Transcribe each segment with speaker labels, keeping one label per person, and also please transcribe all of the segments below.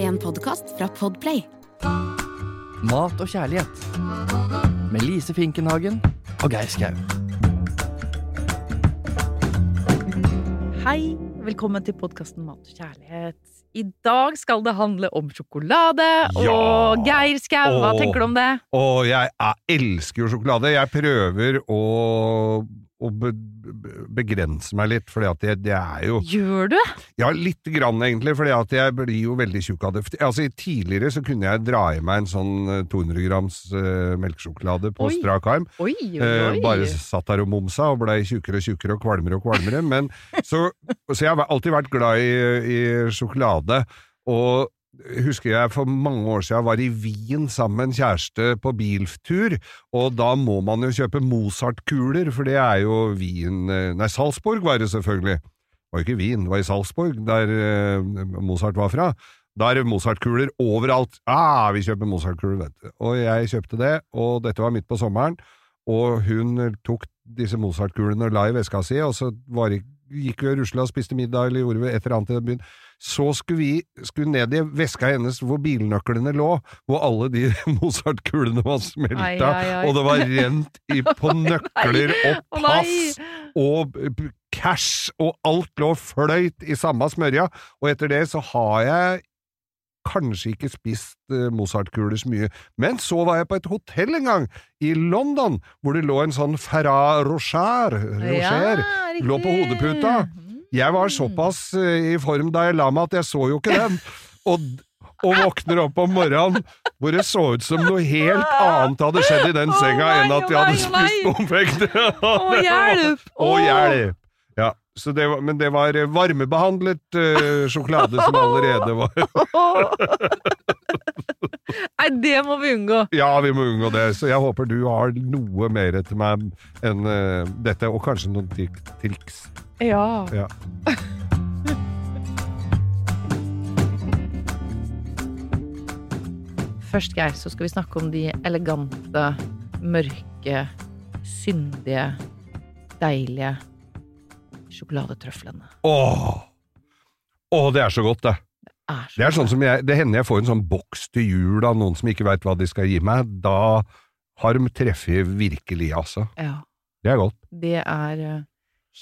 Speaker 1: En podkast fra Podplay.
Speaker 2: Mat og kjærlighet. Med Lise Finkenhagen og Geir Skau.
Speaker 3: Hei, velkommen til podkasten Mat og kjærlighet. I dag skal det handle om sjokolade.
Speaker 4: Ja.
Speaker 3: Og Geir Skau, hva
Speaker 4: Åh.
Speaker 3: tenker du om det?
Speaker 4: Og jeg er, elsker jo sjokolade. Jeg prøver å, å be, be- begrense meg litt, for det, det er jo
Speaker 3: Gjør du?
Speaker 4: Ja, lite grann egentlig, for jeg blir jo veldig tjukk av det. Altså, i- Tidligere så kunne jeg dra i meg en sånn eh, 200 grams eh, melkesjokolade på
Speaker 3: Oi.
Speaker 4: strak arm.
Speaker 3: Oi, oi,
Speaker 4: Eh,
Speaker 3: oi.
Speaker 4: bare satt der og momsa og blei tjukkere og tjukkere og kvalmere og kvalmere. Men så, så jeg har alltid vært glad i, i sjokolade. Og husker jeg for mange år siden var i Wien sammen med en kjæreste på biltur, og da må man jo kjøpe Mozart-kuler, for det er jo Wien eh, Nei, Salzburg var det selvfølgelig. Det var jo ikke Wien, det var i Salzburg, der eh, Mozart var fra. Da er det Mozart-kuler overalt. Ah, vi kjøper Mozart-kuler, vet du. Og jeg kjøpte det, og dette var midt på sommeren. Og hun tok disse Mozart-kulene og la i veska si, og så var det, gikk vi og rusla og spiste middag eller gjorde vi et eller annet i den byen. Så skulle vi skulle ned i veska hennes hvor bilnøklene lå, hvor alle de Mozart-kulene var
Speaker 3: Ai,
Speaker 4: smelta,
Speaker 3: ai, ai.
Speaker 4: og det var rent i, på nøkler og
Speaker 3: Å, nei.
Speaker 4: pass og b- b- cash og alt lå fløyt i samme smørja, og etter det så har jeg kanskje ikke spist eh, Mozart-kuler så mye, men så var jeg på et hotell en gang, i London, hvor det lå en sånn Ferrat Rocher, Rocher.
Speaker 3: Ja, riktig.
Speaker 4: lå på hodeputa. Jeg var såpass eh, i form da jeg la meg at jeg så jo ikke den, og, og våkner opp om morgenen hvor det så ut som noe helt annet hadde skjedd i den
Speaker 3: Å
Speaker 4: senga
Speaker 3: nei,
Speaker 4: enn at
Speaker 3: å
Speaker 4: jeg hadde
Speaker 3: nei,
Speaker 4: spist
Speaker 3: å
Speaker 4: bomfekte.
Speaker 3: Å, hjelp!
Speaker 4: Å,
Speaker 3: Å.
Speaker 4: hjelp! Ja, så det var, men det var eh, varmebehandlet eh, sjokolade som allerede var
Speaker 3: Nei, det må vi unngå.
Speaker 4: Ja, vi må unngå det, så jeg håper du har noe mer til meg enn eh, dette, og kanskje noen trik triks.
Speaker 3: Ja.
Speaker 4: Ja.
Speaker 3: Først, Geir, så skal vi snakke om de elegante, mørke, syndige, deilige sjokoladetrøflene.
Speaker 4: Åh! Åh, det er så godt, det.
Speaker 3: Er så
Speaker 4: Det er sånn som jeg, det hender jeg får en sånn boks til jul av noen som ikke veit hva de skal gi meg. Da har de treffet virkelig, altså.
Speaker 3: Ja,
Speaker 4: Det er godt.
Speaker 3: det er eh,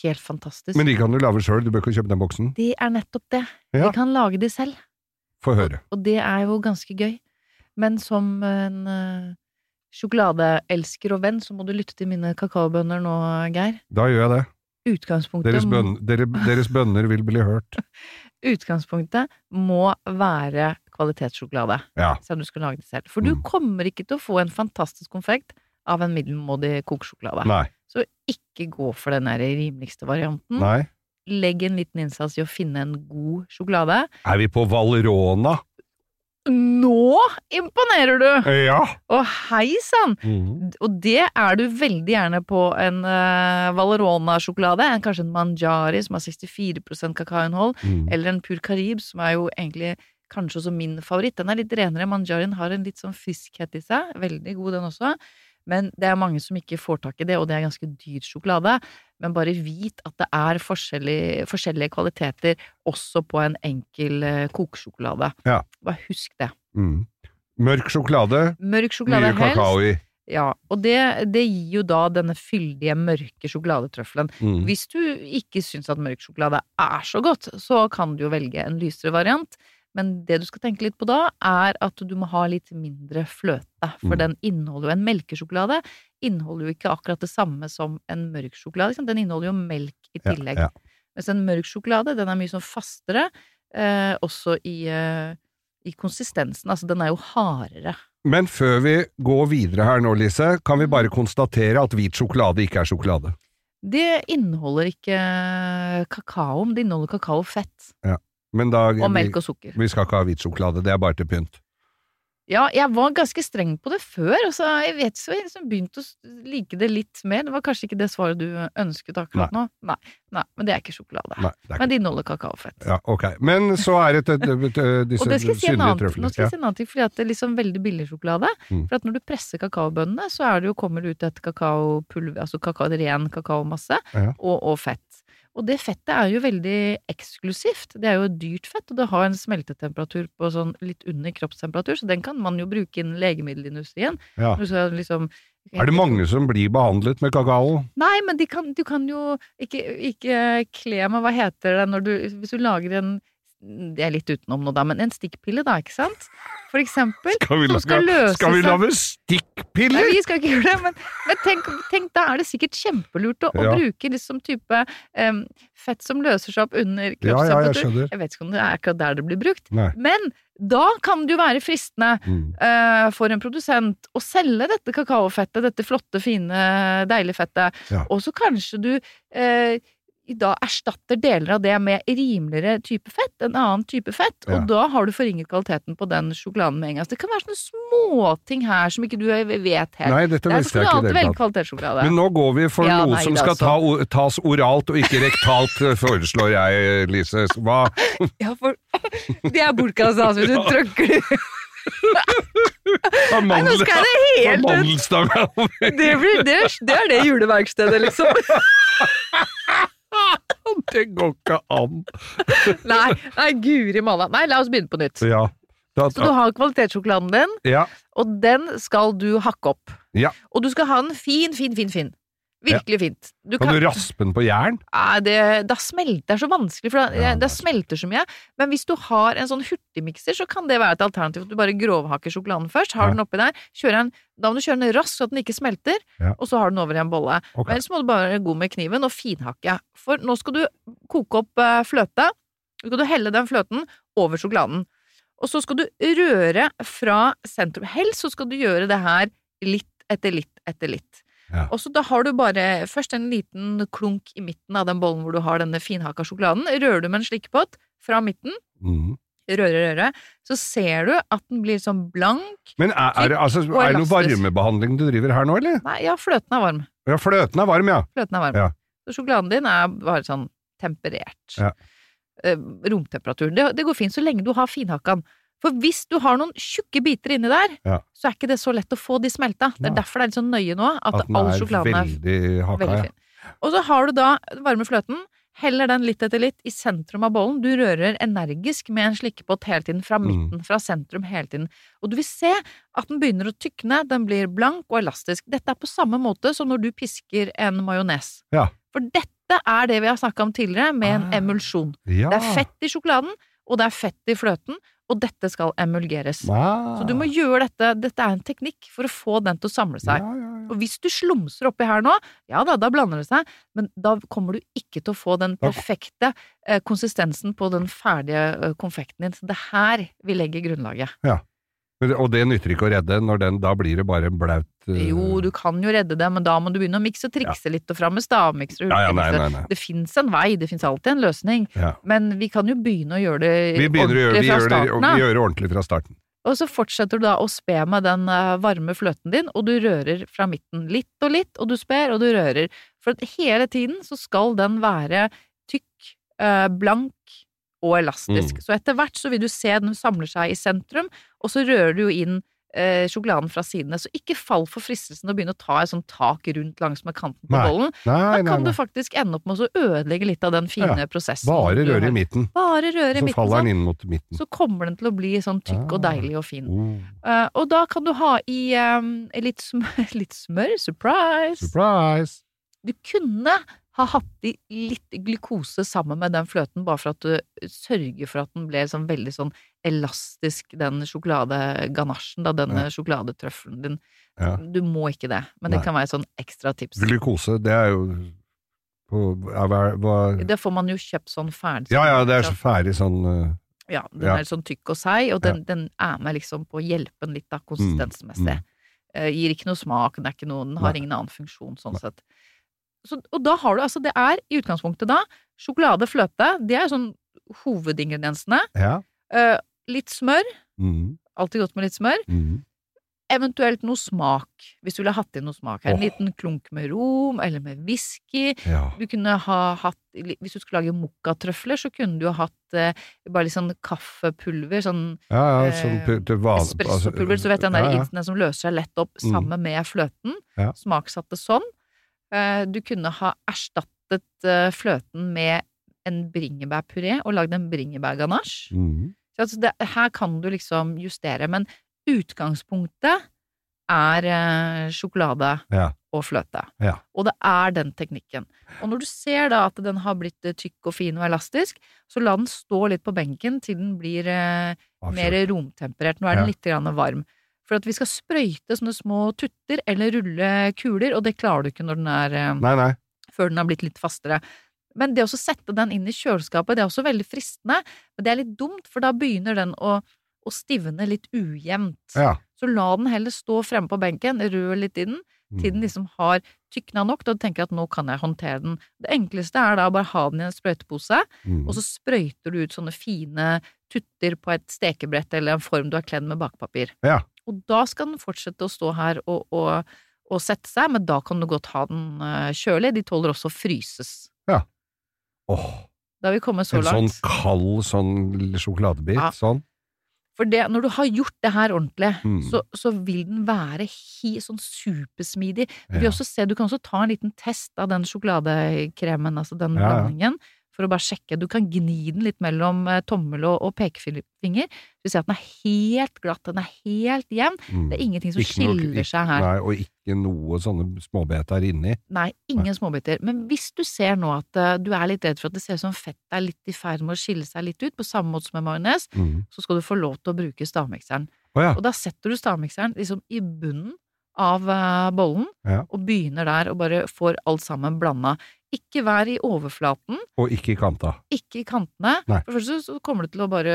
Speaker 3: helt fantastisk.
Speaker 4: Men de kan du lage sjøl, du bør ikke kjøpe den boksen.
Speaker 3: Det er nettopp det.
Speaker 4: Ja.
Speaker 3: De kan lage de selv,
Speaker 4: Få høre.
Speaker 3: og det er jo ganske gøy. Men som en eh, sjokoladeelsker og venn, så må du lytte til mine kakaobønner nå, Geir.
Speaker 4: Da gjør jeg det.
Speaker 3: Utgangspunktet,
Speaker 4: Deres, bønn, dere, deres bønner vil bli hørt.
Speaker 3: utgangspunktet må være kvalitetssjokolade.
Speaker 4: Ja.
Speaker 3: Selv om du skal lage det selv. For du
Speaker 4: Mm.
Speaker 3: kommer ikke til å få en fantastisk konfekt av en middelmådig kokesjokolade.
Speaker 4: Nei.
Speaker 3: Så ikke gå for den der rimeligste varianten.
Speaker 4: Nei.
Speaker 3: Legg en liten innsats i å finne en god sjokolade.
Speaker 4: Er vi på Valrona?
Speaker 3: Nå imponerer du!
Speaker 4: Ja!
Speaker 3: Og hei sann!
Speaker 4: Mm,
Speaker 3: Og det er du veldig gjerne på en uh, Valerona-sjokolade. en- Kanskje en Manjari som har 64 kakaoinnhold.
Speaker 4: Mm.
Speaker 3: Eller en Pur Carib, som er jo egentlig kanskje også min favoritt. Den er litt renere. Manjarien har en litt sånn friskhet i seg. Veldig god, den også. Men det er mange som ikke får tak i det, og det er ganske dyr sjokolade. Men bare vit at det er forskjellige, forskjellige kvaliteter også på en enkel eh, kokesjokolade.
Speaker 4: Ja.
Speaker 3: Bare husk det.
Speaker 4: Mm. Mørk sjokolade,
Speaker 3: Mørk
Speaker 4: mye
Speaker 3: sjokolade helst.
Speaker 4: kakao i.
Speaker 3: Ja, og det, det gir jo da denne fyldige, mørke sjokoladetrøffelen.
Speaker 4: Mm.
Speaker 3: Hvis du ikke syns at mørk sjokolade er så godt, så kan du jo velge en lysere variant. Men det du skal tenke litt på da, er at du må ha litt mindre fløte. For
Speaker 4: Mm.
Speaker 3: den inneholder jo en melkesjokolade. Inneholder jo ikke akkurat det samme som en mørk sjokolade. ikke sant? Den inneholder jo melk i
Speaker 4: Ja,
Speaker 3: tillegg.
Speaker 4: ja.
Speaker 3: Mens en mørk sjokolade, den er mye sånn fastere. Eh, også i, eh, i konsistensen. Altså, den er jo hardere.
Speaker 4: Men før vi går videre her nå, Lise, kan vi bare konstatere at hvit sjokolade ikke er sjokolade.
Speaker 3: Det inneholder ikke eh, kakao, men det inneholder kakaofett.
Speaker 4: Men da,
Speaker 3: Og melk og sukker.
Speaker 4: Vi, vi skal ikke ha hvit sjokolade, det er bare til pynt.
Speaker 3: Ja, jeg var ganske streng på det før, og så jeg vet så jeg liksom begynte å s- like det litt mer. Det var kanskje ikke det svaret du ønsket akkurat nå. Nei, nei, men det er ikke sjokolade.
Speaker 4: Nei, det
Speaker 3: Men
Speaker 4: er ikke.
Speaker 3: det inneholder kakaofett.
Speaker 4: Ja, ok. Men så er det til- til- til disse
Speaker 3: Og det skal jeg si en
Speaker 4: synlige
Speaker 3: annen, nå
Speaker 4: trøflene.
Speaker 3: skal jeg si en annen ting, fordi at det er liksom veldig billig sjokolade.
Speaker 4: Mm.
Speaker 3: For at når du presser kakaobønnene, så er det jo, kommer det ut et kakaopulver, altså kakao, ren kakaomasse,
Speaker 4: Ja.
Speaker 3: og, og fett. Og det fettet er jo veldig eksklusivt. Det er jo et dyrt fett, og det har en smeltetemperatur på sånn litt under kroppstemperatur, så den kan man jo bruke innen legemiddelindustrien.
Speaker 4: Ja.
Speaker 3: Når du skal Liksom,
Speaker 4: Er det mange som blir behandlet med kakao?
Speaker 3: Nei, men de kan, du kan jo ikke, ikke eh, kle meg, hva heter det når du Hvis du lager en Det er litt utenom nå, da, men en stikkpille, da, ikke sant? For eksempel.
Speaker 4: Skal vi,
Speaker 3: Som skal løse
Speaker 4: skal vi
Speaker 3: seg.
Speaker 4: lage
Speaker 3: Nei,
Speaker 4: stikkpiller?
Speaker 3: vi skal ikke gjøre det, men, men tenk, tenk, da er det sikkert kjempelurt å, å
Speaker 4: Ja.
Speaker 3: bruke liksom type em, fett som løser seg opp under
Speaker 4: Ja, ja, jeg
Speaker 3: kroppstemperatur.
Speaker 4: skjønner.
Speaker 3: jeg vet ikke om det er akkurat der det blir brukt,
Speaker 4: Nei.
Speaker 3: men da kan det jo være fristende
Speaker 4: Mm.
Speaker 3: eh, for en produsent å selge dette kakaofettet, dette flotte, fine, deilige fettet.
Speaker 4: Ja.
Speaker 3: Og så kanskje du eh, i dag erstatter deler av det med rimeligere type fett, en annen type fett,
Speaker 4: Ja.
Speaker 3: og da har du forringet kvaliteten på den sjokoladen med en gang. Så det kan være sånne småting her som ikke du vet helt.
Speaker 4: Nei,
Speaker 3: det
Speaker 4: dette
Speaker 3: er
Speaker 4: visste jeg ikke i
Speaker 3: sjokolade,
Speaker 4: det
Speaker 3: vel
Speaker 4: hele tatt.
Speaker 3: kvalitetssjokolade.
Speaker 4: Men nå går vi for
Speaker 3: Ja,
Speaker 4: noe
Speaker 3: nei,
Speaker 4: som
Speaker 3: det
Speaker 4: skal
Speaker 3: altså.
Speaker 4: ta, o- tas oralt og ikke rektalt, foreslår jeg, Lise. Hva?
Speaker 3: Ja, for det er bortkastet, altså, hvis du trykker det. Nei, nå skal jeg det helt ut.
Speaker 4: Mandelstanga over.
Speaker 3: Det, blir, det, er- det er det juleverkstedet, liksom.
Speaker 4: Det går ikke an.
Speaker 3: Nei, nei, guri malla. Nei, la oss begynne på nytt.
Speaker 4: Ja. Da,
Speaker 3: Så du har kvalitetssjokoladen din,
Speaker 4: ja.
Speaker 3: og den skal du hakke opp.
Speaker 4: Ja.
Speaker 3: Og du skal ha den fin, fin, fin, fin. Virkelig fint. Du
Speaker 4: Kan du raspe den på jern?
Speaker 3: Nei, det, da smelter, det er så vanskelig, for da,
Speaker 4: Ja, det er
Speaker 3: det smelter så mye. Men hvis du har en sånn hurtigmikser, så kan det være et alternativ. at Du bare grovhakker sjokoladen først, har
Speaker 4: Ja.
Speaker 3: den oppi der, kjører den, da må du kjøre den raskt så at den ikke smelter,
Speaker 4: Ja.
Speaker 3: og så har du den over i en bolle.
Speaker 4: Ok.
Speaker 3: Men så må du bare være god med kniven og finhakke. For nå skal du koke opp eh, fløte. Så skal du helle den fløten over sjokoladen. Og så skal du røre fra sentrum. Helst så skal du gjøre det her litt etter litt etter litt.
Speaker 4: Ja.
Speaker 3: Og så da har du bare først en liten klunk i midten av den bollen hvor du har denne finhakka sjokoladen. Rører du med en slikkepott fra midten,
Speaker 4: Mhm.
Speaker 3: røre, røre, så ser du at den blir sånn blank.
Speaker 4: Men er, er, det- altså,
Speaker 3: og
Speaker 4: er det noe
Speaker 3: elastisk.
Speaker 4: varmebehandling du driver her nå, eller?
Speaker 3: Nei, ja, fløten er varm.
Speaker 4: Ja, fløten er varm, ja.
Speaker 3: Fløten er varm.
Speaker 4: Ja.
Speaker 3: Så sjokoladen din er bare sånn temperert.
Speaker 4: Ja.
Speaker 3: Eh, romtemperatur. Det, det går fint så lenge du har finhakka den. For hvis du har noen tjukke biter inni der,
Speaker 4: Ja.
Speaker 3: så er ikke det så lett å få de smelta. Det er
Speaker 4: Nei.
Speaker 3: derfor det er litt sånn nøye nå at,
Speaker 4: At den
Speaker 3: all
Speaker 4: er
Speaker 3: sjokoladen er
Speaker 4: veldig hakka,
Speaker 3: Veldig
Speaker 4: ja.
Speaker 3: fin. Og så har du da varme fløten. Heller den litt etter litt i sentrum av bollen. Du rører energisk med en slikkepott hele tiden, fra
Speaker 4: Mm.
Speaker 3: midten, fra sentrum hele tiden. Og du vil se at den begynner å tykne, den blir blank og elastisk. Dette er på samme måte som når du pisker en majones.
Speaker 4: Ja.
Speaker 3: For dette er det vi har snakka om tidligere, med en
Speaker 4: Ah.
Speaker 3: emulsjon.
Speaker 4: ja.
Speaker 3: Det er fett i sjokoladen, og det er fett i fløten, og dette skal emulgeres.
Speaker 4: Ah.
Speaker 3: Så du må gjøre dette. Dette er en teknikk for å få den til å samle seg.
Speaker 4: Ja, ja, ja.
Speaker 3: Og hvis du slumser oppi her nå, ja da, da blander det seg, men da kommer du ikke til å få den
Speaker 4: Da-
Speaker 3: perfekte eh, konsistensen på den ferdige eh, konfekten din. Så det er her vi legger grunnlaget.
Speaker 4: Men det- Og det nytter ikke å redde, når den, da blir det bare en blaut eh,
Speaker 3: Jo, du kan jo redde det, men da må du begynne å mikse og trikse litt, og fram med stavmikser og
Speaker 4: ja, ja, nei,
Speaker 3: hurtigmikser.
Speaker 4: nei, nei.
Speaker 3: Det fins en vei, det fins alltid en løsning,
Speaker 4: Ja.
Speaker 3: men vi kan jo begynne å gjøre det
Speaker 4: Vi begynner å gjøre,
Speaker 3: eh, ordentlig
Speaker 4: vi
Speaker 3: fra
Speaker 4: gjør det, og
Speaker 3: starten
Speaker 4: vi
Speaker 3: av.
Speaker 4: gjør det ordentlig fra starten.
Speaker 3: Og så fortsetter du da å spe med den eh, varme fløten din, og du rører fra midten litt og litt, og du sper og du rører. For at hele tiden så skal den være tykk, eh, blank og elastisk.
Speaker 4: Mm.
Speaker 3: Så etter hvert så vil du se den samler seg i sentrum, og så rører du jo inn eh, sjokoladen fra sidene. Så ikke fall for fristelsen å begynne å ta et sånt tak rundt langs med kanten på
Speaker 4: Nei,
Speaker 3: bollen. Da
Speaker 4: Nei, nei,
Speaker 3: kan du
Speaker 4: nei.
Speaker 3: faktisk ende opp med å så ødelegge litt av den fine prosessen.
Speaker 4: Bare
Speaker 3: du
Speaker 4: røre
Speaker 3: har.
Speaker 4: i midten,
Speaker 3: Bare røre i
Speaker 4: så
Speaker 3: midten,
Speaker 4: faller
Speaker 3: sånn.
Speaker 4: den inn mot midten.
Speaker 3: Så kommer den til å bli sånn tykk og
Speaker 4: Ah.
Speaker 3: deilig og fin.
Speaker 4: Oh,
Speaker 3: Eh, og da kan du ha i eh, litt, smør, litt smør, surprise.
Speaker 4: surprise!
Speaker 3: Du kunne ha hatt i litt glukose sammen med den fløten, bare for at du sørger for at den ble sånn veldig sånn elastisk, den sjokoladeganasjen, da, denne sjokoladetrøffelen din.
Speaker 4: Ja.
Speaker 3: Du må ikke det, men det
Speaker 4: Nei.
Speaker 3: kan være sånn ekstra tips.
Speaker 4: Glukose, det er jo på, er, hva- hva-
Speaker 3: Det får man jo kjøpt sånn ferdig.
Speaker 4: Ja ja, det er så ferdig sånn eh,
Speaker 3: Ja, den
Speaker 4: Ja.
Speaker 3: er sånn tykk og seig, og den, den er med liksom på å hjelpe den litt da, konsistensmessig.
Speaker 4: mm.
Speaker 3: Eh, gir ikke noe smak, den, er ikke noe, den har
Speaker 4: Nei.
Speaker 3: ingen annen funksjon sånn sett. Så, og da har du altså, det er i utgangspunktet da, sjokolade, fløte, det er sånn hovedingrediensene.
Speaker 4: Ja.
Speaker 3: Eh, litt smør,
Speaker 4: Mm,
Speaker 3: alltid godt med litt smør.
Speaker 4: mm.
Speaker 3: Eventuelt noe smak, hvis du ville hatt inn noe smak her. En
Speaker 4: Åh.
Speaker 3: liten klunk med rom, eller med whisky,
Speaker 4: Ja.
Speaker 3: du kunne ha hatt, hvis du skulle lage mokkatrøfler, så kunne du jo hatt eh, bare litt sånn kaffepulver, sånn
Speaker 4: ja, ja sånn
Speaker 3: Eh,
Speaker 4: pu- til van- altså,
Speaker 3: espressopulver, så du vet den der
Speaker 4: ja, ja.
Speaker 3: innsiden som løser seg lett opp
Speaker 4: Mm.
Speaker 3: sammen med fløten.
Speaker 4: Ja.
Speaker 3: Smaksatte sånn. Eh, Du kunne ha erstattet saltet eh, fløten med en bringebærpuré og lagd en bringebærganasje.
Speaker 4: Mhm.
Speaker 3: Så Altså det, her kan du liksom justere, men utgangspunktet er eh, sjokolade
Speaker 4: Ja.
Speaker 3: og fløte.
Speaker 4: Ja.
Speaker 3: Og det er den teknikken. Og når du ser da at den har blitt eh, tykk og fin og elastisk, så la den stå litt på benken til den blir eh, mer
Speaker 4: Avkjørt.
Speaker 3: romtemperert. Nå er
Speaker 4: Ja.
Speaker 3: den litt grann varm. For at vi skal sprøyte sånne små tutter eller rulle kuler, og det klarer du ikke når den er eh,
Speaker 4: Nei, nei.
Speaker 3: før den har blitt litt fastere. Men det å så sette den inn i kjøleskapet, det er også veldig fristende, men det er litt dumt, for da begynner den å, å stivne litt ujevnt.
Speaker 4: Ja.
Speaker 3: Så la den heller stå fremme på benken, rør litt i den,
Speaker 4: Mm,
Speaker 3: til den liksom har tykna nok til at du tenker at nå kan jeg håndtere den. Det enkleste er da å bare ha den i en sprøytepose,
Speaker 4: Mhm.
Speaker 3: og så sprøyter du ut sånne fine tutter på et stekebrett eller en form du har kledd med bakpapir.
Speaker 4: Ja.
Speaker 3: Og da skal den fortsette å stå her og, og, og sette seg, men da kan du godt ha den eh, kjølig. De tåler også å fryses.
Speaker 4: Åh,
Speaker 3: Da har vi kommet så
Speaker 4: en sånn
Speaker 3: langt.
Speaker 4: kald sånn lille sjokoladebit,
Speaker 3: Ja.
Speaker 4: sånn.
Speaker 3: For det, når du har gjort det her ordentlig,
Speaker 4: Mm.
Speaker 3: så, så vil den være hi, sånn supersmidig. Du, vil
Speaker 4: Ja.
Speaker 3: også se, du kan også ta en liten test av den sjokoladekremen, altså den
Speaker 4: Ja, ja.
Speaker 3: blandingen, for å bare sjekke. Du kan gni den litt mellom eh, tommel og, og pekefinger. Du ser at den er helt glatt, den er helt jevn.
Speaker 4: Mm.
Speaker 3: Det er ingenting som
Speaker 4: Ikke noe-
Speaker 3: skiller
Speaker 4: ikke-
Speaker 3: seg her.
Speaker 4: Nei, og ikke noe sånne småbeter inni.
Speaker 3: Nei, ingen småbiter. Men hvis du ser nå at eh, du er litt redd for at det ser ut som fettet er litt i ferd med å skille seg litt ut, på samme måte som med majones,
Speaker 4: Å mm.
Speaker 3: så skal du få lov til å bruke stavmikseren.
Speaker 4: Å ja.
Speaker 3: Og da setter du stavmikseren liksom i bunnen av eh, bollen,
Speaker 4: Ja.
Speaker 3: og begynner der og bare får alt sammen blanda. Ikke vær i overflaten,
Speaker 4: Og ikke i kanta.
Speaker 3: ikke i kantene.
Speaker 4: Nei.
Speaker 3: For det første så kommer du til å bare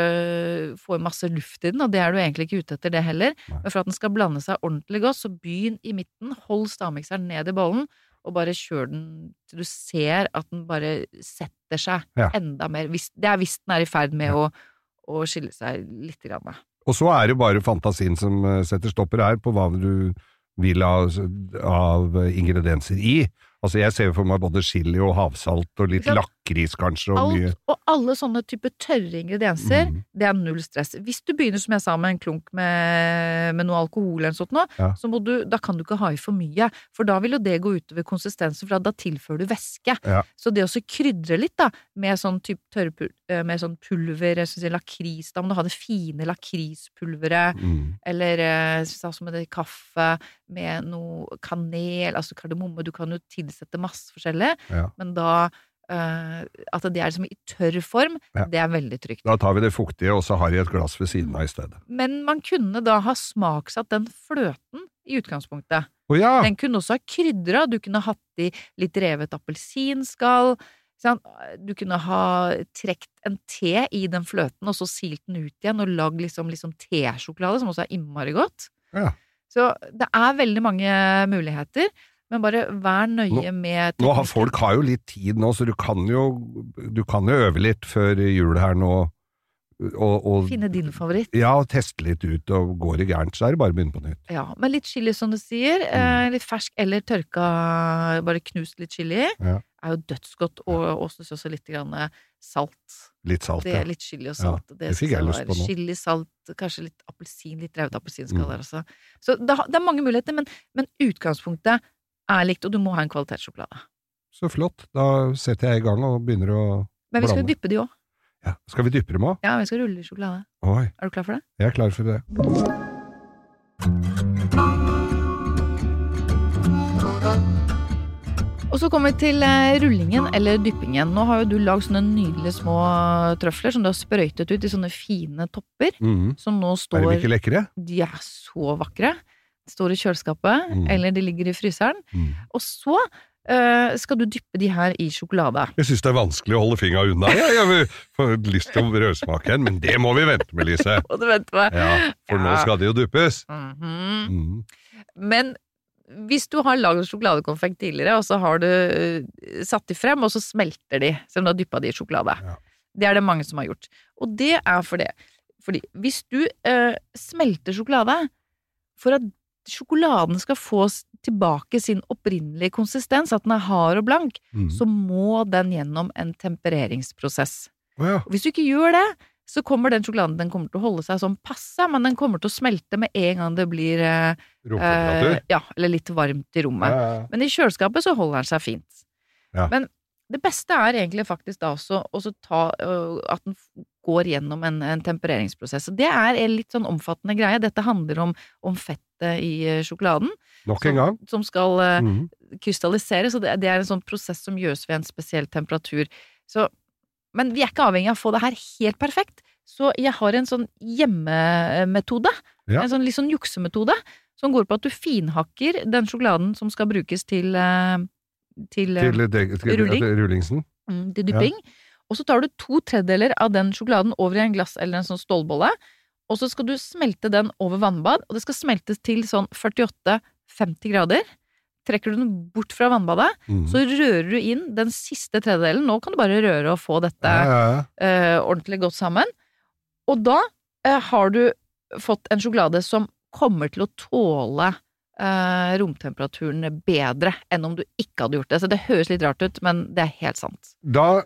Speaker 3: få masse luft i den, og det er du egentlig ikke ute etter det heller.
Speaker 4: Nei.
Speaker 3: Men for at den skal blande seg ordentlig godt, så begynn i midten, hold stavmikseren ned i bollen, og bare kjør den til du ser at den bare setter seg
Speaker 4: Ja.
Speaker 3: enda mer. Hvis, det er hvis den er i ferd med
Speaker 4: Ja.
Speaker 3: å, å skille seg litt. Grann, da.
Speaker 4: Og så er det jo bare fantasien som eh, setter stopper her på hva du vil ha s- av eh, ingredienser i. Altså jeg ser jo for meg både chili og havsalt og litt
Speaker 3: Ikke sant?
Speaker 4: lakris kanskje og mye.
Speaker 3: Alt, og alle sånne typer tørre ingredienser,
Speaker 4: Mhm.
Speaker 3: det er null stress. Hvis du begynner, som jeg sa, med en klunk med, med noe alkohol eller noe sånt nå,
Speaker 4: Ja.
Speaker 3: så må du, da kan du ikke ha i for mye, for da vil jo det gå utover konsistensen, for da tilfører du væske.
Speaker 4: Ja.
Speaker 3: Så det å så krydre litt da, med sånn typ tørre pul- eh, med sånn pulver, jeg synes lakris, da må du ha det fine lakrispulveret,
Speaker 4: Mm.
Speaker 3: eller eh, synes jeg også med det kaffe, med noe kanel, altså kardemomme, du kan jo tilsette masse forskjellig,
Speaker 4: Ja.
Speaker 3: men da eh, at det er liksom i tørr form,
Speaker 4: Ja.
Speaker 3: det er veldig trygt.
Speaker 4: Da tar vi det fuktige, og så har jeg et glass ved siden av i stedet.
Speaker 3: Men man kunne da ha smaksatt den fløten i utgangspunktet.
Speaker 4: Å ja!
Speaker 3: Den kunne også ha krydra. Du kunne hatt i litt revet appelsinskall. ikke sant? Du kunne ha trukket en te i den fløten, og så silt den ut igjen, og lagd liksom, liksom tesjokolade, som også er innmari godt.
Speaker 4: Ja.
Speaker 3: Så det er veldig mange muligheter, men bare vær nøye med
Speaker 4: Nå har
Speaker 3: teknikken.
Speaker 4: folk har jo litt tid nå, så du kan jo, du kan jo øve litt før jul her nå. Og, og
Speaker 3: Finne din favoritt.
Speaker 4: Ja, og teste litt ut, og går det gærent, så er det bare å begynne på nytt.
Speaker 3: Ja, men litt chili som du sier,
Speaker 4: Mm.
Speaker 3: eh, litt fersk eller tørka, bare knust litt chili,
Speaker 4: Ja.
Speaker 3: er jo dødsgodt, og også, også litt grann eh, salt.
Speaker 4: Litt salt,
Speaker 3: Det
Speaker 4: ja.
Speaker 3: er litt chili og salt.
Speaker 4: det fikk
Speaker 3: synes
Speaker 4: jeg
Speaker 3: var-
Speaker 4: lyst på nå. Mm.
Speaker 3: Chili, salt, kanskje litt appelsin, litt revet appelsinskall der også. Så det, har- det er mange muligheter, men, men utgangspunktet er likt, og du må ha en kvalitetssjokolade.
Speaker 4: Så flott, da setter jeg i gang og begynner å
Speaker 3: Men vi skal jo
Speaker 4: Blande.
Speaker 3: dyppe de òg.
Speaker 4: ja. Skal vi dyppe dem òg?
Speaker 3: Ja, vi skal rulle i sjokolade.
Speaker 4: Oi,
Speaker 3: Er du klar for det?
Speaker 4: jeg er klar for det.
Speaker 3: Og så kommer vi til eh, rullingen eller dyppingen. Nå har jo du lagd sånne nydelige små trøfler som du har sprøytet ut i sånne fine topper,
Speaker 4: Mhm.
Speaker 3: som nå
Speaker 4: Er de
Speaker 3: står
Speaker 4: ikke lekre?
Speaker 3: De er så vakre. Står i kjøleskapet,
Speaker 4: Mm.
Speaker 3: eller de ligger i fryseren.
Speaker 4: Mm.
Speaker 3: Og så eh, skal du dyppe de her i sjokolade.
Speaker 4: Jeg syns det er vanskelig å holde fingra unna. Jeg, jeg får lyst til å rødsmake en, men det må vi vente med, Lise.
Speaker 3: Og du venter på
Speaker 4: Ja, for nå
Speaker 3: Ja.
Speaker 4: skal det jo duppes.
Speaker 3: Mhm.
Speaker 4: Mhm.
Speaker 3: Men hvis du har lagd sjokoladekonfekt tidligere, og så har du eh, satt de frem, og så smelter de, selv om du har dyppa de i sjokolade.
Speaker 4: Ja.
Speaker 3: Det er det mange som har gjort. Og det er for det. Fordi hvis du eh, smelter sjokolade, for at sjokoladen skal få s- tilbake sin opprinnelige konsistens, at den er hard og blank,
Speaker 4: Mhm.
Speaker 3: så må den gjennom en tempereringsprosess.
Speaker 4: Å ja.
Speaker 3: Og Hvis du ikke gjør det, så kommer den sjokoladen den kommer til å holde seg sånn passe, men den kommer til å smelte med en gang det blir eh,
Speaker 4: Romtemperatur?
Speaker 3: Eh, ja, eller litt varmt i rommet.
Speaker 4: Ja, ja, ja.
Speaker 3: Men i kjøleskapet så holder den seg fint.
Speaker 4: Ja.
Speaker 3: Men Det beste er egentlig faktisk da også å så ta øh, at den f- går gjennom en, en tempereringsprosess. Og det er en litt sånn omfattende greie. Dette handler om, om fettet i øh, sjokoladen,
Speaker 4: Nok en gang.
Speaker 3: som skal øh,
Speaker 4: Mhm.
Speaker 3: krystalliseres, og det, det er en sånn prosess som gjøres ved en spesiell temperatur. Så, men vi er ikke avhengig av å få det her helt perfekt, så jeg har en sånn hjemmemetode,
Speaker 4: Ja.
Speaker 3: en sånn litt sånn juksemetode, som går på at du finhakker den sjokoladen som skal brukes til, eh, til, eh,
Speaker 4: Til, deg- til
Speaker 3: Rulling.
Speaker 4: til rullingsen.
Speaker 3: Mm, til dypping. Og så tar du to tredjedeler av den sjokoladen over i en glass eller en sånn stålbolle. Og så skal du smelte den over vannbad, og det skal smeltes til sånn 48-50 grader. Trekker du den bort fra vannbadet,
Speaker 4: Mhm.
Speaker 3: så rører du inn den siste tredjedelen. Nå kan du bare røre og få dette
Speaker 4: Ja, ja, ja.
Speaker 3: eh, ordentlig godt sammen. Og da eh, har du fått en sjokolade som kommer til å tåle eh, romtemperaturen bedre enn om du ikke hadde gjort det. Så det høres litt rart ut, men det er helt sant.
Speaker 4: Da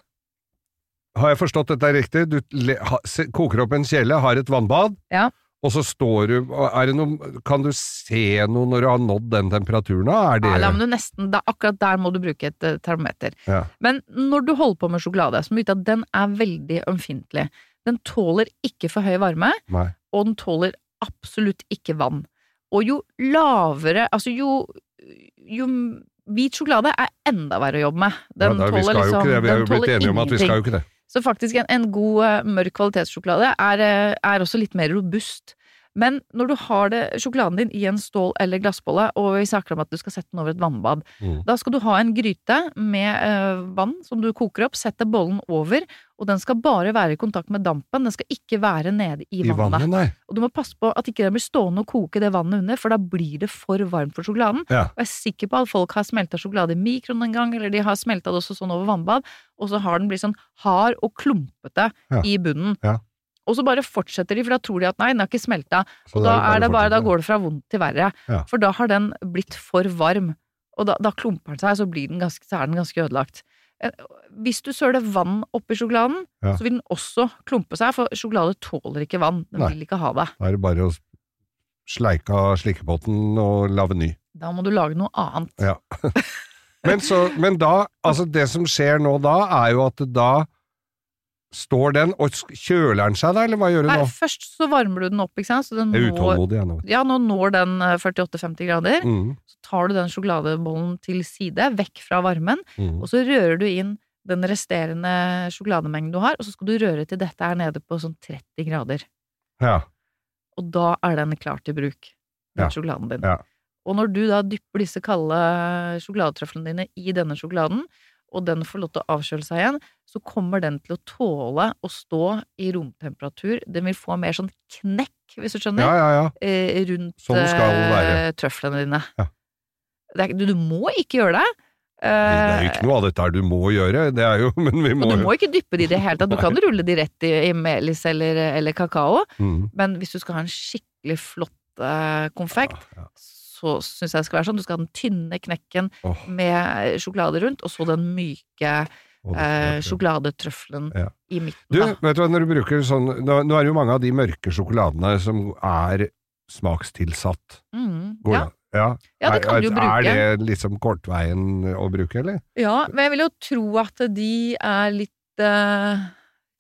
Speaker 4: har jeg forstått dette er riktig. Du le, ha, se, koker opp en kjele, har et vannbad,
Speaker 3: Ja.
Speaker 4: og så står du og er det noe, Kan du se noe når du har nådd den temperaturen? da? Er det
Speaker 3: Ja, da må du nesten, da, akkurat der må du bruke et eh, termometer.
Speaker 4: Ja.
Speaker 3: Men når du holder på med sjokolade, så må du vite at den er veldig ømfintlig. Den tåler ikke for høy varme,
Speaker 4: Nei.
Speaker 3: og den tåler absolutt ikke vann. Og jo lavere Altså jo, jo Hvit sjokolade er enda verre å jobbe med. Den
Speaker 4: ja, da, vi
Speaker 3: tåler
Speaker 4: skal jo
Speaker 3: liksom
Speaker 4: ikke det. Vi er
Speaker 3: den
Speaker 4: jo blitt
Speaker 3: tåler
Speaker 4: enige om at vi skal
Speaker 3: ingenting.
Speaker 4: jo ikke det.
Speaker 3: Så faktisk en, en god eh, mørk kvalitetssjokolade er, eh, er også litt mer robust. Men når du har det, sjokoladen din i en stål- eller glassbolle, og vi snakker om at du skal sette den over et vannbad,
Speaker 4: Mm.
Speaker 3: da skal du ha en gryte med eh, vann som du koker opp, sette bollen over, og den skal bare være i kontakt med dampen, den skal ikke være nede i
Speaker 4: I
Speaker 3: vannet.
Speaker 4: vannet, nei.
Speaker 3: Og du må passe på at ikke den blir stående og koke det vannet under, for da blir det for varmt for sjokoladen.
Speaker 4: Ja.
Speaker 3: Og jeg er sikker på at folk har smelta sjokolade i mikroen en gang, eller de har smelta det også sånn over vannbad, og så har den blitt sånn hard og klumpete
Speaker 4: Ja.
Speaker 3: i bunnen.
Speaker 4: Ja.
Speaker 3: Og så bare fortsetter de, for da tror de at nei, den har ikke smelta.
Speaker 4: Så
Speaker 3: Og da,
Speaker 4: er
Speaker 3: er det bare, da
Speaker 4: fortsatt-
Speaker 3: går det fra vondt til verre.
Speaker 4: Ja.
Speaker 3: For da har den blitt for varm. Og da, da klumper den seg, så, blir den ganske, så er den ganske ødelagt. Eh, Hvis du søler vann oppi sjokoladen,
Speaker 4: Ja.
Speaker 3: så vil den også klumpe seg, for sjokolade tåler ikke vann. Den
Speaker 4: Nei.
Speaker 3: vil ikke ha det.
Speaker 4: Da er det bare å sleike av slikkepotten og lage ny.
Speaker 3: Da må du lage noe annet.
Speaker 4: Ja. Men, så, men da, altså det som skjer nå da, er jo at da står den, og sk- kjøler den seg da, eller hva gjør den
Speaker 3: Nei,
Speaker 4: nå?
Speaker 3: først så varmer du den opp, ikke sant? Så den
Speaker 4: Jeg
Speaker 3: når,
Speaker 4: er utålmodig, jeg nå.
Speaker 3: ja, nå når den eh, 48-50 grader.
Speaker 4: Mm,
Speaker 3: Så tar du den sjokoladebollen til side, vekk fra varmen,
Speaker 4: mm.
Speaker 3: og så rører du inn den resterende sjokolademengden du har, og så skal du røre til dette er nede på sånn 30 grader.
Speaker 4: Ja,
Speaker 3: Og da er den klar til bruk, den
Speaker 4: Ja.
Speaker 3: sjokoladen din.
Speaker 4: Ja.
Speaker 3: Og når du da dypper disse kalde sjokoladetrøflene dine i denne sjokoladen, og den får lov til å avkjøle seg igjen, så kommer den til å tåle å stå i romtemperatur. Den vil få mer sånn knekk, hvis du
Speaker 4: ja,
Speaker 3: skjønner,
Speaker 4: ja. ja.
Speaker 3: eh, rundt
Speaker 4: Sånn det skal
Speaker 3: eh,
Speaker 4: være.
Speaker 3: trøflene dine.
Speaker 4: Ja.
Speaker 3: Det er, ikke- du, du må ikke gjøre det. Eh,
Speaker 4: Det er jo ikke noe av dette her du må gjøre, det er jo, men vi må
Speaker 3: og du
Speaker 4: jo.
Speaker 3: må ikke dyppe det i det hele tatt. Du kan rulle de rett i, i melis eller, eller kakao,
Speaker 4: Mm.
Speaker 3: men hvis du skal ha en skikkelig flott eh, konfekt,
Speaker 4: Ja,
Speaker 3: så syns jeg det skal være sånn. Du skal ha den tynne knekken
Speaker 4: Åh,
Speaker 3: med eh, sjokolade rundt, og så den myke
Speaker 4: åh,
Speaker 3: eh,
Speaker 4: det-
Speaker 3: sjokoladetrøffelen
Speaker 4: Ja.
Speaker 3: i midten.
Speaker 4: Du,
Speaker 3: da.
Speaker 4: vet du hva, når du bruker sånn, nå, nå er det jo mange av de mørke sjokoladene som er smakstilsatt.
Speaker 3: Mm,
Speaker 4: Går
Speaker 3: ja.
Speaker 4: det? Ja.
Speaker 3: ja, det kan
Speaker 4: er,
Speaker 3: du jo bruke.
Speaker 4: Er det liksom kortveien å bruke, eller?
Speaker 3: Ja, men jeg vil jo tro at de er litt eh,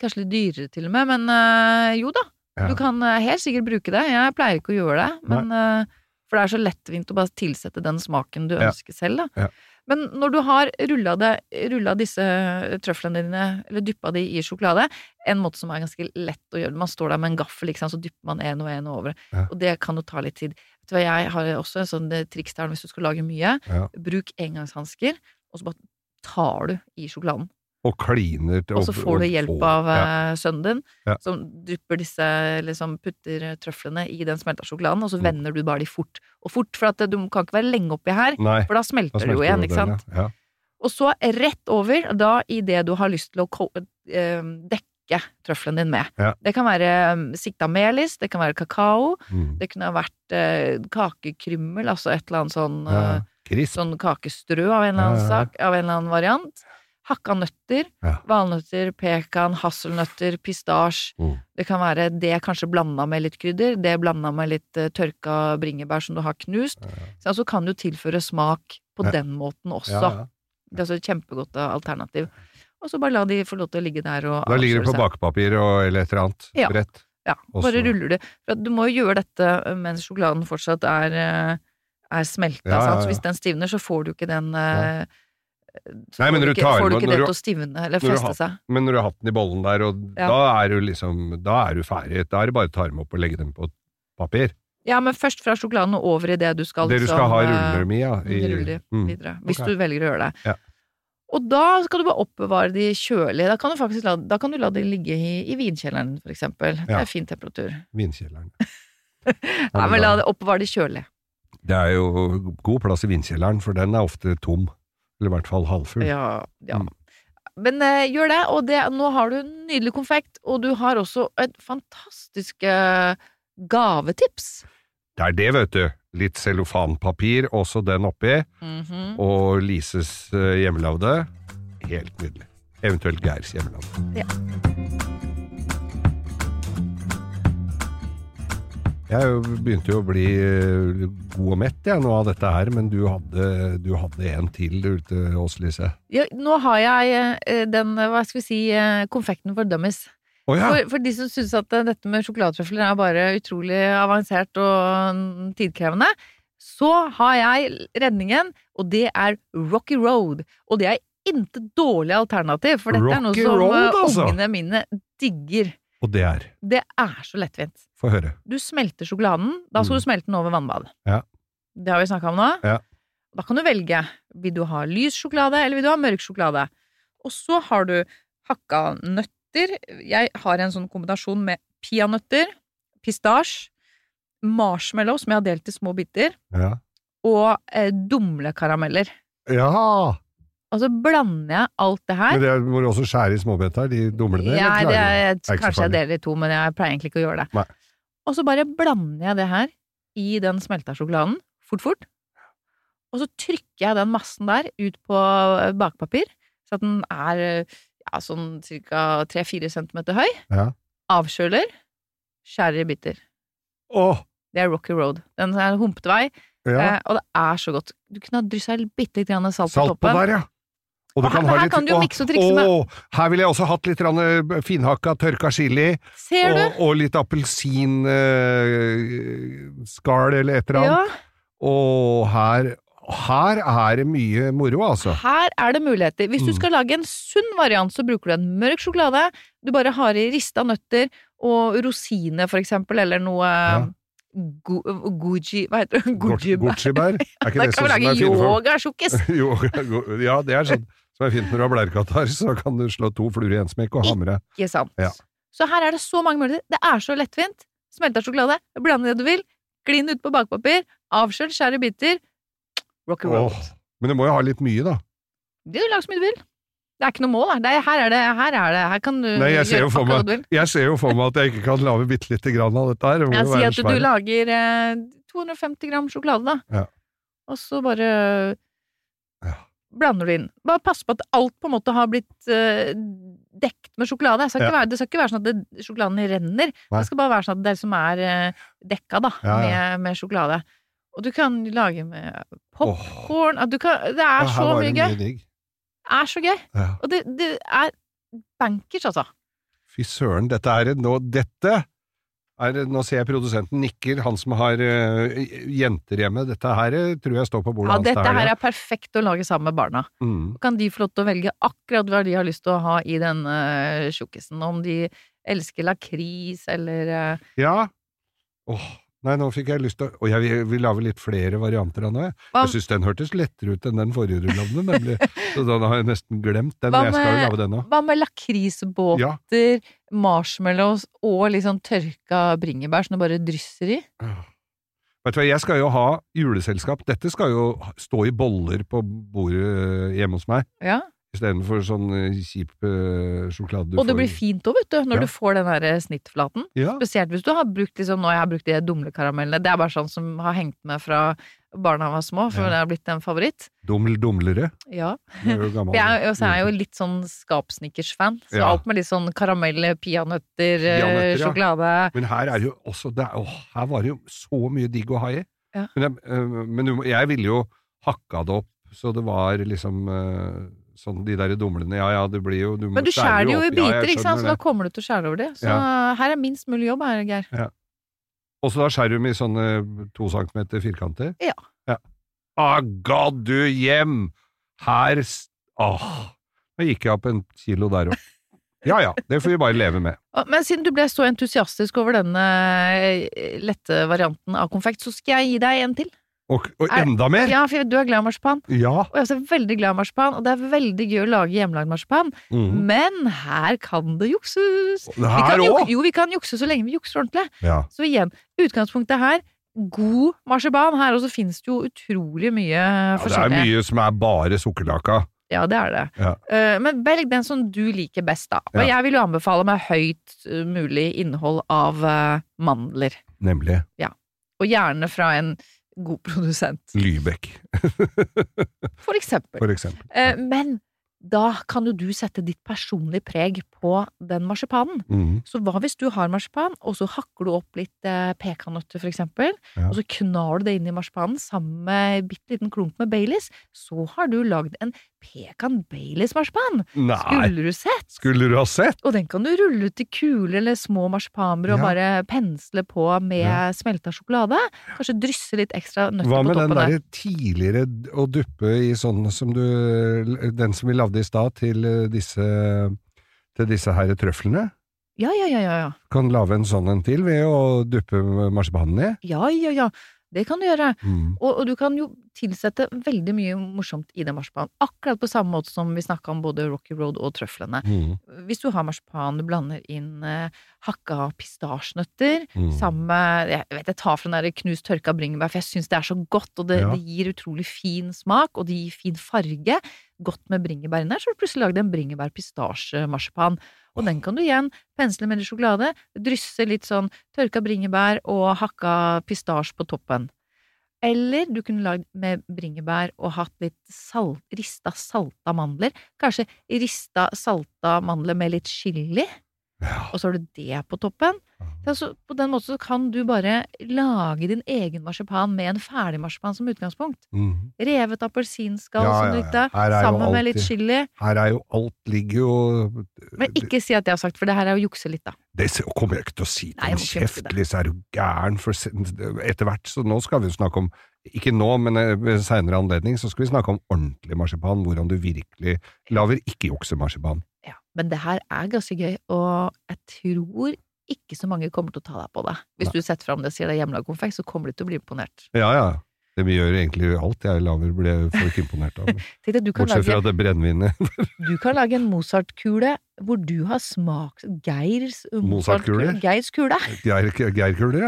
Speaker 3: Kanskje litt dyrere til og med, men eh, jo da.
Speaker 4: Ja.
Speaker 3: Du kan eh, helt sikkert bruke det. Jeg pleier ikke å gjøre det, men, eh, for det er så lettvint å bare tilsette den smaken du
Speaker 4: Ja.
Speaker 3: ønsker selv. Da.
Speaker 4: Ja.
Speaker 3: Men når du har rulla det- rulla disse eh, trøflene dine, eller dyppa de i sjokolade, en måte som er ganske lett å gjøre Man står der med en gaffel, ikke sant, så dypper man en og en over.
Speaker 4: Ja.
Speaker 3: Og det kan jo ta litt tid. Vet du hva, jeg har også en sånn eh, triks der hvis du skal lage mye.
Speaker 4: Ja.
Speaker 3: Bruk engangshansker, og så bare tar du i sjokoladen.
Speaker 4: Og kliner til
Speaker 3: Og så får du hjelp av
Speaker 4: ja.
Speaker 3: eh, sønnen din,
Speaker 4: Ja.
Speaker 3: som dypper disse, liksom putter trøflene i den smelta sjokoladen, og så
Speaker 4: Mm.
Speaker 3: vender du bare de fort og fort, for at eh, du kan ikke være lenge oppi her,
Speaker 4: Nei,
Speaker 3: for da
Speaker 4: da
Speaker 3: smelter det
Speaker 4: smelter
Speaker 3: jo igjen, ikke
Speaker 4: den,
Speaker 3: sant.
Speaker 4: Ja.
Speaker 3: Og så rett over, da i det du har lyst til å ko- eh, dekke trøffelen din med.
Speaker 4: Ja.
Speaker 3: Det kan være eh, sikta melis, det kan være kakao,
Speaker 4: Ja. Mm.
Speaker 3: det kunne ha vært eh, kakekrymmel, altså et eller annet sånn
Speaker 4: Ja.
Speaker 3: eh,
Speaker 4: Krisp.
Speaker 3: sånn kakestrø av en eller annen
Speaker 4: Ja, ja, ja.
Speaker 3: sak, av en eller annen variant. Hakka nøtter,
Speaker 4: Ja.
Speaker 3: valnøtter, pekan, hasselnøtter, pistasje.
Speaker 4: Mm.
Speaker 3: Det kan være det kanskje blanda med litt krydder, det blanda med litt eh, tørka bringebær som du har knust. Så altså kan du tilføre smak på
Speaker 4: Ja.
Speaker 3: den måten også.
Speaker 4: Ja, ja.
Speaker 3: Det er også et kjempegodt eh, alternativ. Og så bare la de få lov til å ligge der og
Speaker 4: Da ligger det
Speaker 3: avkjøle
Speaker 4: på
Speaker 3: seg.
Speaker 4: bakepapir og, eller et eller annet
Speaker 3: Ja.
Speaker 4: brett.
Speaker 3: Ja,
Speaker 4: Og
Speaker 3: bare
Speaker 4: så-
Speaker 3: ruller det. For at du må jo gjøre dette eh, mens sjokoladen fortsatt er, eh, er smelta.
Speaker 4: Ja, ja,
Speaker 3: sant?
Speaker 4: ja.
Speaker 3: Så hvis den stivner, så får du ikke den eh, så
Speaker 4: Nei, men
Speaker 3: får
Speaker 4: når
Speaker 3: du
Speaker 4: du
Speaker 3: ikke,
Speaker 4: tar
Speaker 3: får du
Speaker 4: imot-
Speaker 3: ikke
Speaker 4: når
Speaker 3: det til
Speaker 4: du-
Speaker 3: å stivne eller
Speaker 4: når du
Speaker 3: feste
Speaker 4: har-
Speaker 3: seg.
Speaker 4: Men når du har hatt den i bollen der, og
Speaker 3: Ja.
Speaker 4: da er du liksom Da er du ferdig. Da er det bare å ta dem opp og legge dem på papir.
Speaker 3: Ja, men først fra sjokoladen og over i det du skal
Speaker 4: det du skal ha
Speaker 3: eh,
Speaker 4: ruller dem i, ja.
Speaker 3: ruller
Speaker 4: mm.
Speaker 3: videre. Hvis
Speaker 4: Ok.
Speaker 3: du velger å gjøre det.
Speaker 4: Ja.
Speaker 3: Og da skal du bare oppbevare de kjølig. Da kan du faktisk la, da kan du la de ligge i, i vinkjelleren, for eksempel. Det
Speaker 4: Ja.
Speaker 3: er fin temperatur.
Speaker 4: Vinkjelleren.
Speaker 3: Nei, men la det oppbevare de kjølig.
Speaker 4: Det er jo god plass i vindkjelleren, for den er ofte tom. Eller i hvert fall halvfull.
Speaker 3: Ja, ja.
Speaker 4: Mm.
Speaker 3: Men eh, gjør det, og det, nå har du en nydelig konfekt, og du har også et fantastisk eh, gavetips.
Speaker 4: Det er det, vet du. Litt cellofanpapir, også den oppi, og Lises eh, hjemmelagde. Helt nydelig. Eventuelt Geirs hjemmelagde.
Speaker 3: Ja.
Speaker 4: Jeg jo- begynte jo å bli eh, god og mett jeg, nå av dette her, men du hadde, du hadde en til du, til oss, Lise.
Speaker 3: Ja, nå har jeg eh, den, eh, hva skal vi si, eh, konfekten for dummies.
Speaker 4: Å ja!
Speaker 3: For, for de som syns at eh, dette med sjokoladetrøfler er bare utrolig avansert og mm, tidkrevende, så har jeg redningen, og det er Rocky Road. Og det er intet dårlig alternativ, for dette er noe
Speaker 4: Rocky
Speaker 3: som
Speaker 4: Road,
Speaker 3: eh,
Speaker 4: altså?
Speaker 3: ungene mine digger.
Speaker 4: Og det er.
Speaker 3: Det er så lettvint.
Speaker 4: Få høre.
Speaker 3: Du smelter sjokoladen. Da skal
Speaker 4: Mm.
Speaker 3: du smelte den over vannbad.
Speaker 4: Ja.
Speaker 3: Det har vi snakka om nå.
Speaker 4: Ja.
Speaker 3: Da kan du velge. Vil du ha lys sjokolade, eller vil du ha mørk sjokolade? Og så har du hakka nøtter. Jeg har en sånn kombinasjon med peanøtter, pistasje, marshmallow, som jeg har delt i små biter,
Speaker 4: Ja.
Speaker 3: og eh, dumlekarameller.
Speaker 4: ja.
Speaker 3: Og så blander jeg alt det her.
Speaker 4: Men det er, må du også skjære i småbiter, de dumlene? eller
Speaker 3: Ja,
Speaker 4: klarer
Speaker 3: det
Speaker 4: du?
Speaker 3: er,
Speaker 4: så
Speaker 3: kanskje jeg
Speaker 4: farlig.
Speaker 3: deler i to, men jeg pleier egentlig ikke å gjøre det.
Speaker 4: Nei.
Speaker 3: Og så bare blander jeg det her i den smelta sjokoladen, fort, fort. Og så trykker jeg den massen der ut på eh, bakpapir, så at den er eh, ja, sånn ca. 3-4 cm høy.
Speaker 4: Ja.
Speaker 3: Avkjøler, skjærer i biter.
Speaker 4: Åh,
Speaker 3: Det er Rocky Road. Den er humpete vei,
Speaker 4: ja.
Speaker 3: eh, og det er så godt. Du kunne ha dryssa bitte litt grann salt,
Speaker 4: Salt på
Speaker 3: toppen.
Speaker 4: der, ja. Og
Speaker 3: Og her- her kan du jo
Speaker 4: åh,
Speaker 3: mikse og trikse med.
Speaker 4: åh, her ville jeg også hatt litt grann, eh, finhakka, tørka chili,
Speaker 3: Ser du?
Speaker 4: og, og litt appelsinskall eller et eller
Speaker 3: Ja.
Speaker 4: annet. Og her, her er det mye moro, altså.
Speaker 3: Her er det muligheter. Hvis du
Speaker 4: Mm.
Speaker 3: skal lage en sunn variant, så bruker du en mørk sjokolade. Du bare har i rista nøtter og rosiner, for eksempel, eller noe um,
Speaker 4: Ja.
Speaker 3: gu- uh, Gucci Hva heter det? Gucci
Speaker 4: Gucci-bær. Er ikke
Speaker 3: Da
Speaker 4: det
Speaker 3: kan
Speaker 4: sånn
Speaker 3: vi
Speaker 4: som
Speaker 3: lage
Speaker 4: er fint for
Speaker 3: yogasjokkis!
Speaker 4: Yoga, go- Ja, det er sånn som er fint når du har blærekatarr, så kan du slå to fluer i en smekk og hamre.
Speaker 3: Ikke sant?
Speaker 4: Ja.
Speaker 3: Så her er det så mange muligheter. Det er så lettvint. Smelta sjokolade, blande det du vil, klin ut på bakpapir, avskjøl, skjær i biter. Rock and roll.
Speaker 4: Åh, Men du må jo ha litt mye, da.
Speaker 3: Det er jo lag som du vil. Det er ikke noe mål, da. Det er, her er det, her er det. Her kan du
Speaker 4: Nei, jeg ser jo
Speaker 3: gjøre
Speaker 4: for
Speaker 3: akkurat
Speaker 4: meg-
Speaker 3: hva du vil.
Speaker 4: Jeg ser jo for meg at jeg ikke kan lage bitte lite grann av dette her. Det må
Speaker 3: Jeg
Speaker 4: jo
Speaker 3: sier
Speaker 4: være
Speaker 3: at
Speaker 4: svær-
Speaker 3: du lager eh, 250 gram sjokolade, da.
Speaker 4: Ja.
Speaker 3: Og så bare
Speaker 4: Ja.
Speaker 3: blander du inn. Bare pass på at alt på en måte har blitt eh, dekt med sjokolade. Det skal, ikke være, det skal ikke være sånn at det, sjokoladen renner.
Speaker 4: Nei.
Speaker 3: Det skal bare være sånn at det er som er eh, dekka, da,
Speaker 4: Ja,
Speaker 3: Med, med sjokolade. Og du kan lage med
Speaker 4: Åh,
Speaker 3: korn at du kan, Det
Speaker 4: ja,
Speaker 3: er
Speaker 4: her
Speaker 3: så
Speaker 4: var det
Speaker 3: mye gøy.
Speaker 4: digg.
Speaker 3: Det er så gøy.
Speaker 4: Ja.
Speaker 3: Og det, det er bankers, altså.
Speaker 4: Fy søren, dette er nå Dette er Nå ser jeg produsenten nikker, han som har eh, jenter hjemme. Dette her eh, tror jeg står på bordet
Speaker 3: Ja,
Speaker 4: hans
Speaker 3: dette
Speaker 4: til
Speaker 3: her
Speaker 4: helga.
Speaker 3: er perfekt å lage sammen med barna.
Speaker 4: Mm.
Speaker 3: kan de få lov til å velge akkurat hva de har lyst til å ha i den eh, tjukkisen. Om de elsker lakris eller eh,
Speaker 4: Ja. Åh, nei, nå fikk jeg lyst til å Og jeg vil, vil lage litt flere varianter av det.
Speaker 3: Hva-
Speaker 4: Jeg syns den hørtes lettere ut enn den forrige rullavnen, nemlig. Så den har jeg nesten glemt. Den,
Speaker 3: Hva
Speaker 4: jeg skal jo
Speaker 3: med-
Speaker 4: lage den nå.
Speaker 3: Hva med lakrisbåter,
Speaker 4: Ja.
Speaker 3: marshmallows og litt sånn tørka bringebær som du bare drysser i?
Speaker 4: Vet du hva, jeg skal jo ha juleselskap. Dette skal jo stå i boller på bordet hjemme hos meg,
Speaker 3: Ja.
Speaker 4: istedenfor sånn eh, kjip eh, sjokolade du
Speaker 3: Og det
Speaker 4: får.
Speaker 3: blir fint òg, vet du, når
Speaker 4: Ja.
Speaker 3: du får den der snittflaten.
Speaker 4: Ja,
Speaker 3: Spesielt hvis du har brukt liksom, nå har jeg brukt de dumlekaramellene. Det er bare sånn som har hengt med fra barna var små, for
Speaker 4: Ja.
Speaker 3: det har blitt en favoritt.
Speaker 4: duml dumlere.
Speaker 3: Ja.
Speaker 4: Du er jo gammel. Mm.
Speaker 3: For jeg, er- også er jeg jo litt sånn skapsnickers-fan. Så
Speaker 4: Ja.
Speaker 3: alt med litt sånn karamell, peanøtter,
Speaker 4: Peanøtter,
Speaker 3: eh,
Speaker 4: ja. Mm,
Speaker 3: sjokolade
Speaker 4: Men her er det jo også det er, åh, Her var det jo så mye digg å ha i.
Speaker 3: Ja.
Speaker 4: Men, jeg, eh, men du må- jeg ville jo hakka det opp Så det var liksom eh, sånn de der dumlene Ja, ja, det blir jo du må
Speaker 3: Men du
Speaker 4: skjære
Speaker 3: skjærer jo i
Speaker 4: opp. Ja, jeg
Speaker 3: biter, ikke sant?
Speaker 4: skjønner
Speaker 3: så da
Speaker 4: det.
Speaker 3: kommer du til å skjære over det. Så her er minst mulig jobb, her, Geir.
Speaker 4: Og så da skjærer de i sånne to centimeter firkanter?
Speaker 3: Ja.
Speaker 4: Ah, ga du hjem! Her s- Åh! Nå gikk jeg opp en kilo der òg. Ja ja, det får vi bare leve med.
Speaker 3: Og- Men siden du ble så entusiastisk over denne eh, lette varianten av konfekt, så skal jeg gi deg en til.
Speaker 4: Og, og
Speaker 3: Er-
Speaker 4: enda mer!
Speaker 3: Ja, for du er glad i marsipan.
Speaker 4: Ja!
Speaker 3: Og jeg er også veldig glad i marsipan, og det er veldig gøy å lage hjemmelagd marsipan.
Speaker 4: Mm.
Speaker 3: Men her kan det jukses!
Speaker 4: Det
Speaker 3: Vi kan
Speaker 4: Her
Speaker 3: juk-
Speaker 4: òg!
Speaker 3: Jo, vi kan jukse så lenge vi jukser ordentlig.
Speaker 4: Ja.
Speaker 3: Så igjen, utgangspunktet her, god marsipan. Her også finnes det jo utrolig mye
Speaker 4: ja, det er
Speaker 3: forskjellig.
Speaker 4: mye som er bare sukkerlaka.
Speaker 3: Ja, det er det.
Speaker 4: Ja.
Speaker 3: Eh, men velg den som du liker best, da. Og
Speaker 4: Ja.
Speaker 3: jeg vil jo anbefale med høyt eh, mulig innhold av eh, mandler.
Speaker 4: Nemlig
Speaker 3: Og gjerne fra en god produsent,
Speaker 4: Lybekk,
Speaker 3: for eksempel.
Speaker 4: for eksempel.
Speaker 3: Eh, men da kan jo du sette ditt personlige preg på den marsipanen.
Speaker 4: Mm.
Speaker 3: Så hva hvis du har marsipan, og så hakker du opp litt eh, pekannøtter, for eksempel,
Speaker 4: Ja.
Speaker 3: og så knar du det inn i marsipanen sammen med en bitte liten klump med Baileys, så har du lagd en pekan-Baileys-marsipan!
Speaker 4: Nei,
Speaker 3: Skulle du sett!
Speaker 4: skulle du ha sett?
Speaker 3: Og den kan du rulle ut i kuler eller små marsipanbrød og
Speaker 4: Ja.
Speaker 3: bare pensle på med
Speaker 4: Ja.
Speaker 3: smelta sjokolade. Kanskje drysse litt ekstra nøtter
Speaker 4: Hva med
Speaker 3: på
Speaker 4: den
Speaker 3: toppen der.
Speaker 4: derre tidligere d- å duppe i sånn som du Den som vi lagde i stad til eh, disse til disse her trøflene?
Speaker 3: Ja, ja, ja, ja, ja.
Speaker 4: Kan lage en sånn en til ved å duppe marsipanen i.
Speaker 3: Ja, ja, ja. Det kan du gjøre.
Speaker 4: Mm.
Speaker 3: Og, og du kan jo tilsette veldig mye morsomt i den marsipanen. Akkurat på samme måte som vi snakka om både Rocky Road og trøflene.
Speaker 4: Mm.
Speaker 3: Hvis du har marsipan, du blander inn eh, hakka pistasjenøtter
Speaker 4: Mm.
Speaker 3: sammen med Jeg vet jeg tar fra den der knust tørka bringebær, for jeg syns det er så godt, og det,
Speaker 4: Ja.
Speaker 3: det gir utrolig fin smak, og det gir fin farge. Godt med bringebær inni her, så har du plutselig lagd en bringebær-pistasjemarsipan. Og den kan du igjen pensle med litt sjokolade, drysse litt sånn tørka bringebær og hakka pistasje på toppen. Eller du kunne lagd med bringebær og hatt litt salt, rista salta mandler. Kanskje rista salta mandler med litt chili,
Speaker 4: Ja.
Speaker 3: og så har du det på toppen. Det er altså- på den måten så kan du bare lage din egen marsipan med en ferdig marsipan som utgangspunkt.
Speaker 4: Mm.
Speaker 3: Revet appelsinskall
Speaker 4: Ja,
Speaker 3: som
Speaker 4: ja,
Speaker 3: du
Speaker 4: ja.
Speaker 3: likte,
Speaker 4: Her er jo
Speaker 3: sammen med
Speaker 4: alltid-
Speaker 3: litt chili.
Speaker 4: Her er jo alt ligger jo
Speaker 3: Men ikke si at jeg har sagt, for det her er å jukse litt, da.
Speaker 4: Det s- kommer jeg ikke til å si
Speaker 3: Nei,
Speaker 4: til
Speaker 3: jeg
Speaker 4: en
Speaker 3: må ikke
Speaker 4: kjeft,
Speaker 3: si det.
Speaker 4: Lise, er du gæren? For se- etter hvert, så nå skal vi jo snakke om Ikke nå, men eh, ved seinere anledning så skal vi snakke om ordentlig marsipan, hvordan du virkelig lager ikke-juksemarsipan.
Speaker 3: Ja, men det her er ganske gøy, og jeg tror ikke så mange kommer til å ta deg på det. Hvis du setter fram det og sier det er hjemmelagd konfekt, så kommer de til å bli imponert.
Speaker 4: Ja, ja. Det vi gjør egentlig alt jeg lager, blir folk imponert av.
Speaker 3: Tenk deg, du kan,
Speaker 4: Bortsett
Speaker 3: lage,
Speaker 4: fra det brennevinet.
Speaker 3: du kan lage en Mozart-kule hvor du har smaks... Geirs
Speaker 4: Mozart-kule?
Speaker 3: Geirs kule.
Speaker 4: Geir- Geirkuler,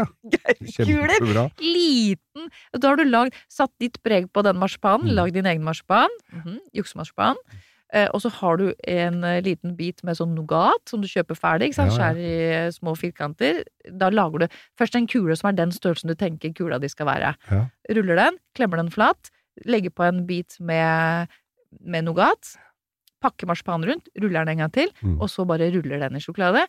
Speaker 4: ja.
Speaker 3: Kuler!
Speaker 4: Kjempebra.
Speaker 3: Liten! Da har du lagd, satt ditt preg på den marsipanen,
Speaker 4: Mm.
Speaker 3: lagd din egen marsipan, mhm, juksemarsipan. Eh, og så har du en eh, liten bit med sånn nougat som du kjøper ferdig. Ikke sant?
Speaker 4: Ja, ja.
Speaker 3: Skjærer i eh, små firkanter. Da lager du først en kule som er den størrelsen du tenker kula di skal være.
Speaker 4: Ja.
Speaker 3: Ruller den, klemmer den flat, legger på en bit med, med nougat. Pakker marsipanen rundt, ruller den en gang til,
Speaker 4: Mm.
Speaker 3: og så bare ruller den i sjokolade.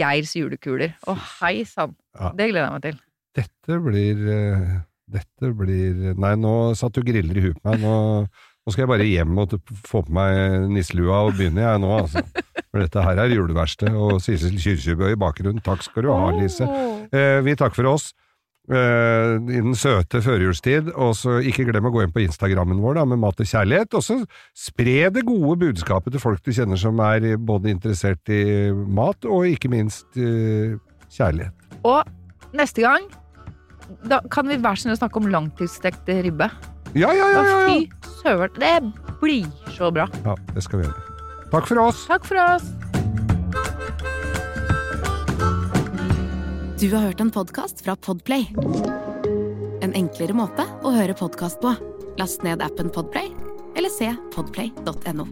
Speaker 3: Geirs julekuler. Å, hei sann!
Speaker 4: Ja.
Speaker 3: Det gleder jeg meg til.
Speaker 4: Dette blir eh, Dette blir eh, Nei, nå satt du griller i huet på meg. Nå, nå skal jeg bare hjem og t- få på meg nisselua og begynne jeg nå, altså. For dette her er juleverksted, og Sissel Kyrkjebø i bakgrunnen. Takk skal du ha, Lise.
Speaker 3: Åh.
Speaker 4: Eh, vi takker for oss. eh, I den søte førjulstid. Og så ikke glem å gå inn på Instagrammen vår da, med Mat og kjærlighet. Og så spre det gode budskapet til folk du kjenner som er både interessert i mat og ikke minst eh, kjærlighet.
Speaker 3: Og neste gang da kan vi hver sin snakke om langtidsstekt ribbe.
Speaker 4: Ja, ja,
Speaker 3: Da,
Speaker 4: ja! ja, ja.
Speaker 3: fy søren. Det blir så bra.
Speaker 4: Ja, det skal vi gjøre. Takk for oss!
Speaker 3: Takk for oss.
Speaker 1: Du har hørt en podkast fra Podplay. En enklere måte å høre podkast på. Last ned appen Podplay, eller se podplay.no.